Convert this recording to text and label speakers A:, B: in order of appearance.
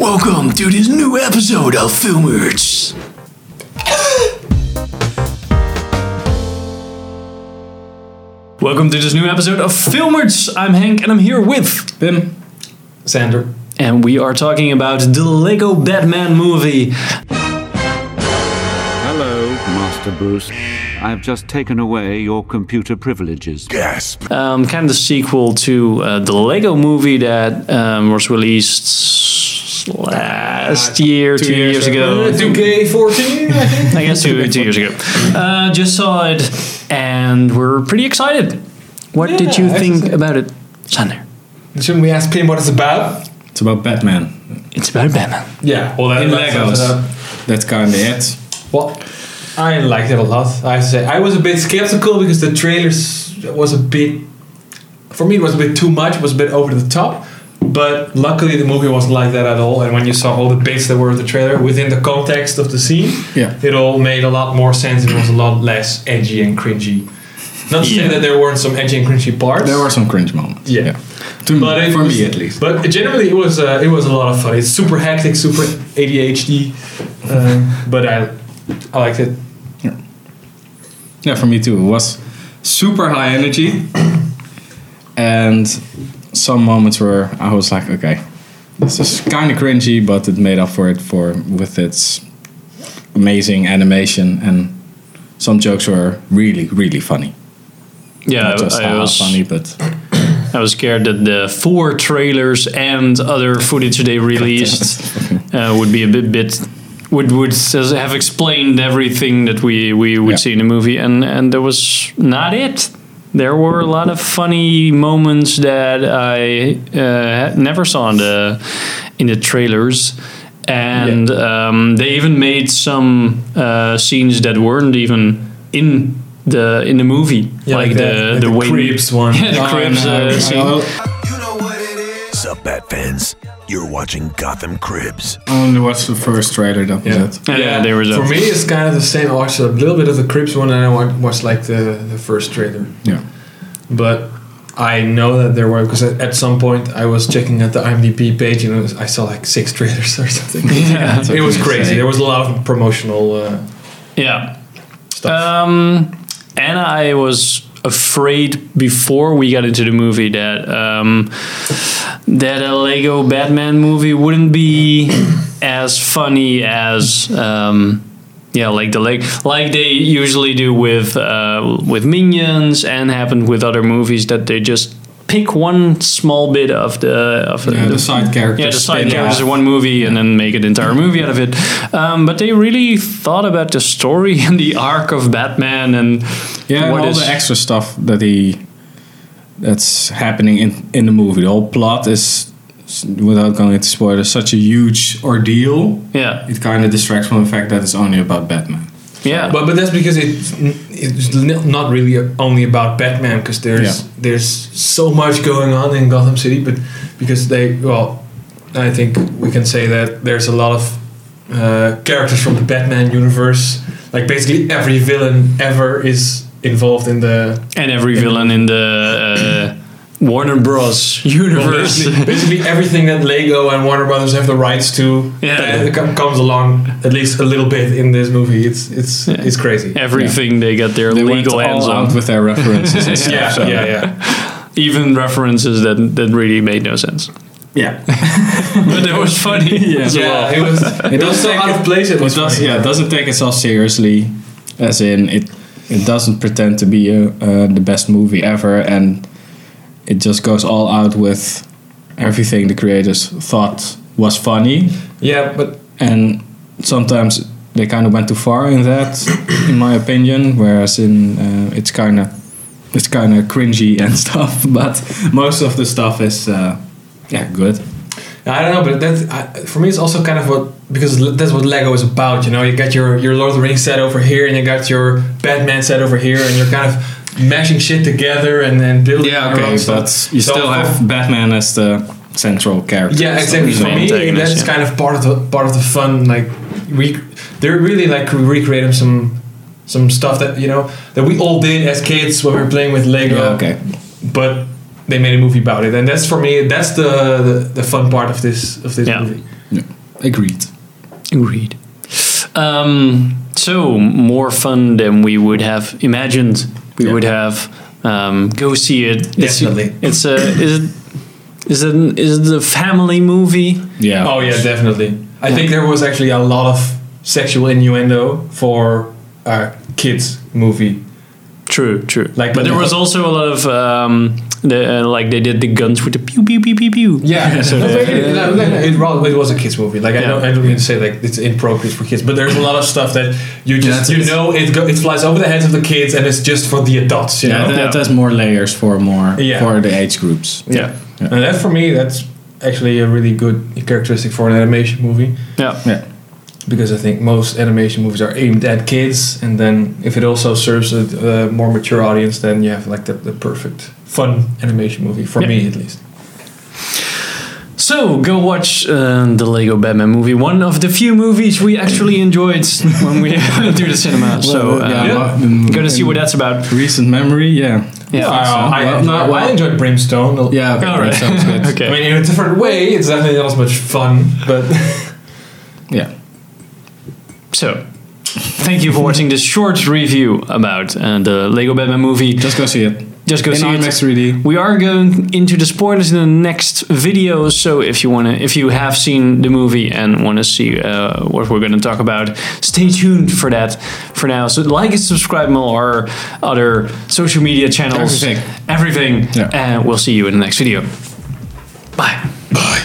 A: Welcome to this new episode of Filmerts. Welcome to this new episode of Filmerts. I'm Hank and I'm here with Bim.
B: Sander.
A: And we are talking about the Lego Batman movie.
C: Hello, Master Bruce. I've just taken away your computer privileges.
A: Um, kind of the sequel to uh, the Lego movie that um, was released last year, two, years, ago.
B: 2K14, I think.
A: I guess two, two years ago. Uh, just saw it, and we're pretty excited. What did you
B: Yeah,
A: think
B: excellent.
A: about it, Sander?
B: Shouldn't we ask Pim what it's about?
D: It's about Batman.
A: It's about Batman.
B: Yeah.
D: All that
B: Pim
D: Legos.
B: sums it up.
D: That's kind of it.
B: Well, I liked it a lot, I have to say. I was a bit skeptical because the trailer s- was a bit. For me, it was a bit too much, was a bit over the top. But luckily, the movie wasn't like that at all. And when you saw all the bits that were in the trailer within the context of the scene,
D: Yeah.
B: it all made a lot more sense. It was a lot less edgy and cringy. Not to say
A: Yeah.
B: that there weren't some edgy and cringy parts.
D: There were some cringe moments.
B: Yeah.
D: To
B: But
D: me,
B: it
D: Hmm. for
B: was-
D: me at least.
B: But generally, it was uh, it was a lot of fun. It's super hectic, super ADHD, um, but I I liked it.
D: Yeah, for me too. It was super high energy, and some moments where I was like, okay, this is kind of cringy, but it made up for it for with its amazing animation and some jokes were really really funny.
A: Yeah,
D: Not just
A: I, I
D: "Ah,
A: was
D: funny, but
A: I was scared that the four trailers and other footage they released uh, would be a bit bit would would have explained everything that we we would
D: Yeah.
A: see in the movie, and and that was not it. There were a lot of funny moments that I uh, never saw in the in the trailers. And um, they even made some uh, scenes that weren't even in the in the movie, like, the, the, way
B: creeps one.
A: Yeah, the Cribs,
D: And,
A: uh,
D: uh,
A: scene.
D: I
E: You know what it is. Sup, Bat fans? You're watching Gotham Cribs.
D: only watched the first trailer. That was it.
A: Yeah, there was a-
B: For me, it's kind of the same. I watched a little bit of the Crips one, and I wa- watched like the the first trailer.
D: Yeah.
B: But I know that there were because at, at some point I was checking at the IMDb page and it was, I saw like six trailers or something.
D: Yeah,
B: it was crazy. There was a lot of promotional uh,
A: Yeah.
B: stuff.
A: Um, and I was afraid before we got into the movie that um, that a Lego Batman movie wouldn't be as funny as um, yeah, like the like like they usually do with uh, with Minions and happened with other movies that they just pick one small bit of the of
D: Yeah, the side characters.
A: yeah, the side
D: spin
A: characters
D: off.
A: in one movie and then make an entire movie out of it. Um, but they really thought about the story and the arc of Batman and
D: Yeah, and
A: what
D: all
A: is-
D: the extra stuff that he that's happening in in the movie. The whole plot is, s- without going into spoilers, such a huge ordeal.
A: yeah,
D: It kind of distracts from the fact that it's only about Batman.
A: yeah,
B: But but that's because it's it's n- not really only about Batman because there's
D: Yeah.
B: there's so much going on in Gotham City, but because they well, I think we can say that there's a lot of uh, characters from the Batman universe. Like basically every villain ever is involved in the
A: and every villain in the uh, Warner Bros.
B: well,
A: universe.
B: basically, basically everything that Lego and Warner Brothers have the rights to
A: Yeah.
B: that com- comes along at least a little bit in this movie. It's it's
A: Yeah.
B: it's crazy.
A: Everything they got their
D: They
A: legal
D: went
A: hands
D: all out
A: on,
D: with their references and stuff.
B: Yeah,
D: so-
B: yeah, yeah.
A: even references that that really made no sense.
D: yeah.
A: But it was funny. as well.
B: Yeah, it was. It, was
D: does
B: so
D: take
B: out of place. It
D: It
B: was.
D: does,
B: funny.
D: yeah, it doesn't take itself seriously, as in it it doesn't pretend to be uh uh, the best movie ever, and it just goes all out with everything the creators thought was funny,
B: Yeah, but
D: and sometimes they kind of went too far in that, in my opinion. Whereas in uh, it's kind of it's kind of cringy and stuff, but most of the stuff is uh, yeah good.
B: I don't know. But that's I, for me. It's also kind of what because l- that's what Lego is about. You know, you got your your Lord of the Rings set over here, and you got your Batman set over here, and you're kind of mashing shit together and then building.
D: Yeah,
B: your
D: okay,
B: own stuff.
D: but you
B: So
D: still
B: for-
D: have Batman as the central character.
B: Yeah, exactly. For
A: main
B: me,
A: antagonist,
B: that's
A: yeah.
B: kind of part of the part of the fun. Like we, they're really like recreating some some stuff that you know that we all did as kids when we were playing with Lego.
D: Yeah, okay.
B: but they made a movie about it, and that's for me. That's the the, the fun part of this of this
A: Yeah.
B: movie.
D: Agreed.
A: Agreed. Um, so more fun than we would have imagined. We
D: Yeah.
A: would have. Um, go see it. It's-
B: Definitely.
A: It's, a. Is it? Is it? Is it a family movie?
D: Yeah.
B: Oh yeah, definitely. I think there was actually a lot of sexual innuendo for a kids movie.
A: True. True.
B: Like-
A: but there was also a lot of um, the uh, like they did the guns with the pew pew pew pew pew. so,
B: No, maybe- no, no, no, uh, it, wa- it was a kids movie. Like I
A: Yeah.
B: don't, I don't mean to say like it's inappropriate for kids, but there's a lot of stuff that you just
D: that's-
B: you know it go, it flies over the heads of the kids and it's just for the adults. You
D: Yeah,
B: know?
D: that,
A: Yeah.
D: that's more layers for more
B: Yeah.
D: for the age groups.
A: yeah.
B: And that for me, that's actually a really good characteristic for an animation movie
A: Yeah.
D: Yeah.
B: because I think most animation movies are aimed at kids, and then if it also serves a, a more mature audience, then you have like the, the perfect fun animation movie for
A: Yeah.
B: me at least.
A: So go watch uh, the Lego Batman movie. One of the few movies we actually enjoyed when we do the cinema. So uh,
D: yeah,
B: yeah.
D: well,
A: gonna see
D: in
A: what that's about.
D: recent memory. Yeah,
A: Yeah.
B: Wow, Oh, I,
D: Well,
B: enjoyed,
D: not- well-
B: I enjoyed Brimstone. a-
D: yeah. Okay,
A: All
D: that
A: right.
D: sounds good.
A: okay.
B: I mean, in a different way, it's definitely not as much fun, but
D: Yeah,
A: So, thank you for watching this short review about uh, the Lego Batman movie.
D: just go see it.
A: Just go
D: in
A: see it.
D: IMAX 3D.
A: We are going into the spoilers in the next video, so if you wanna, if you have seen the movie and want to see uh, what we're going to talk about, stay tuned for that. For now, so like and subscribe on all our other social media channels,
D: Everything.
A: everything,
D: Yeah.
A: and we'll see you in the next video. Bye.
D: Bye.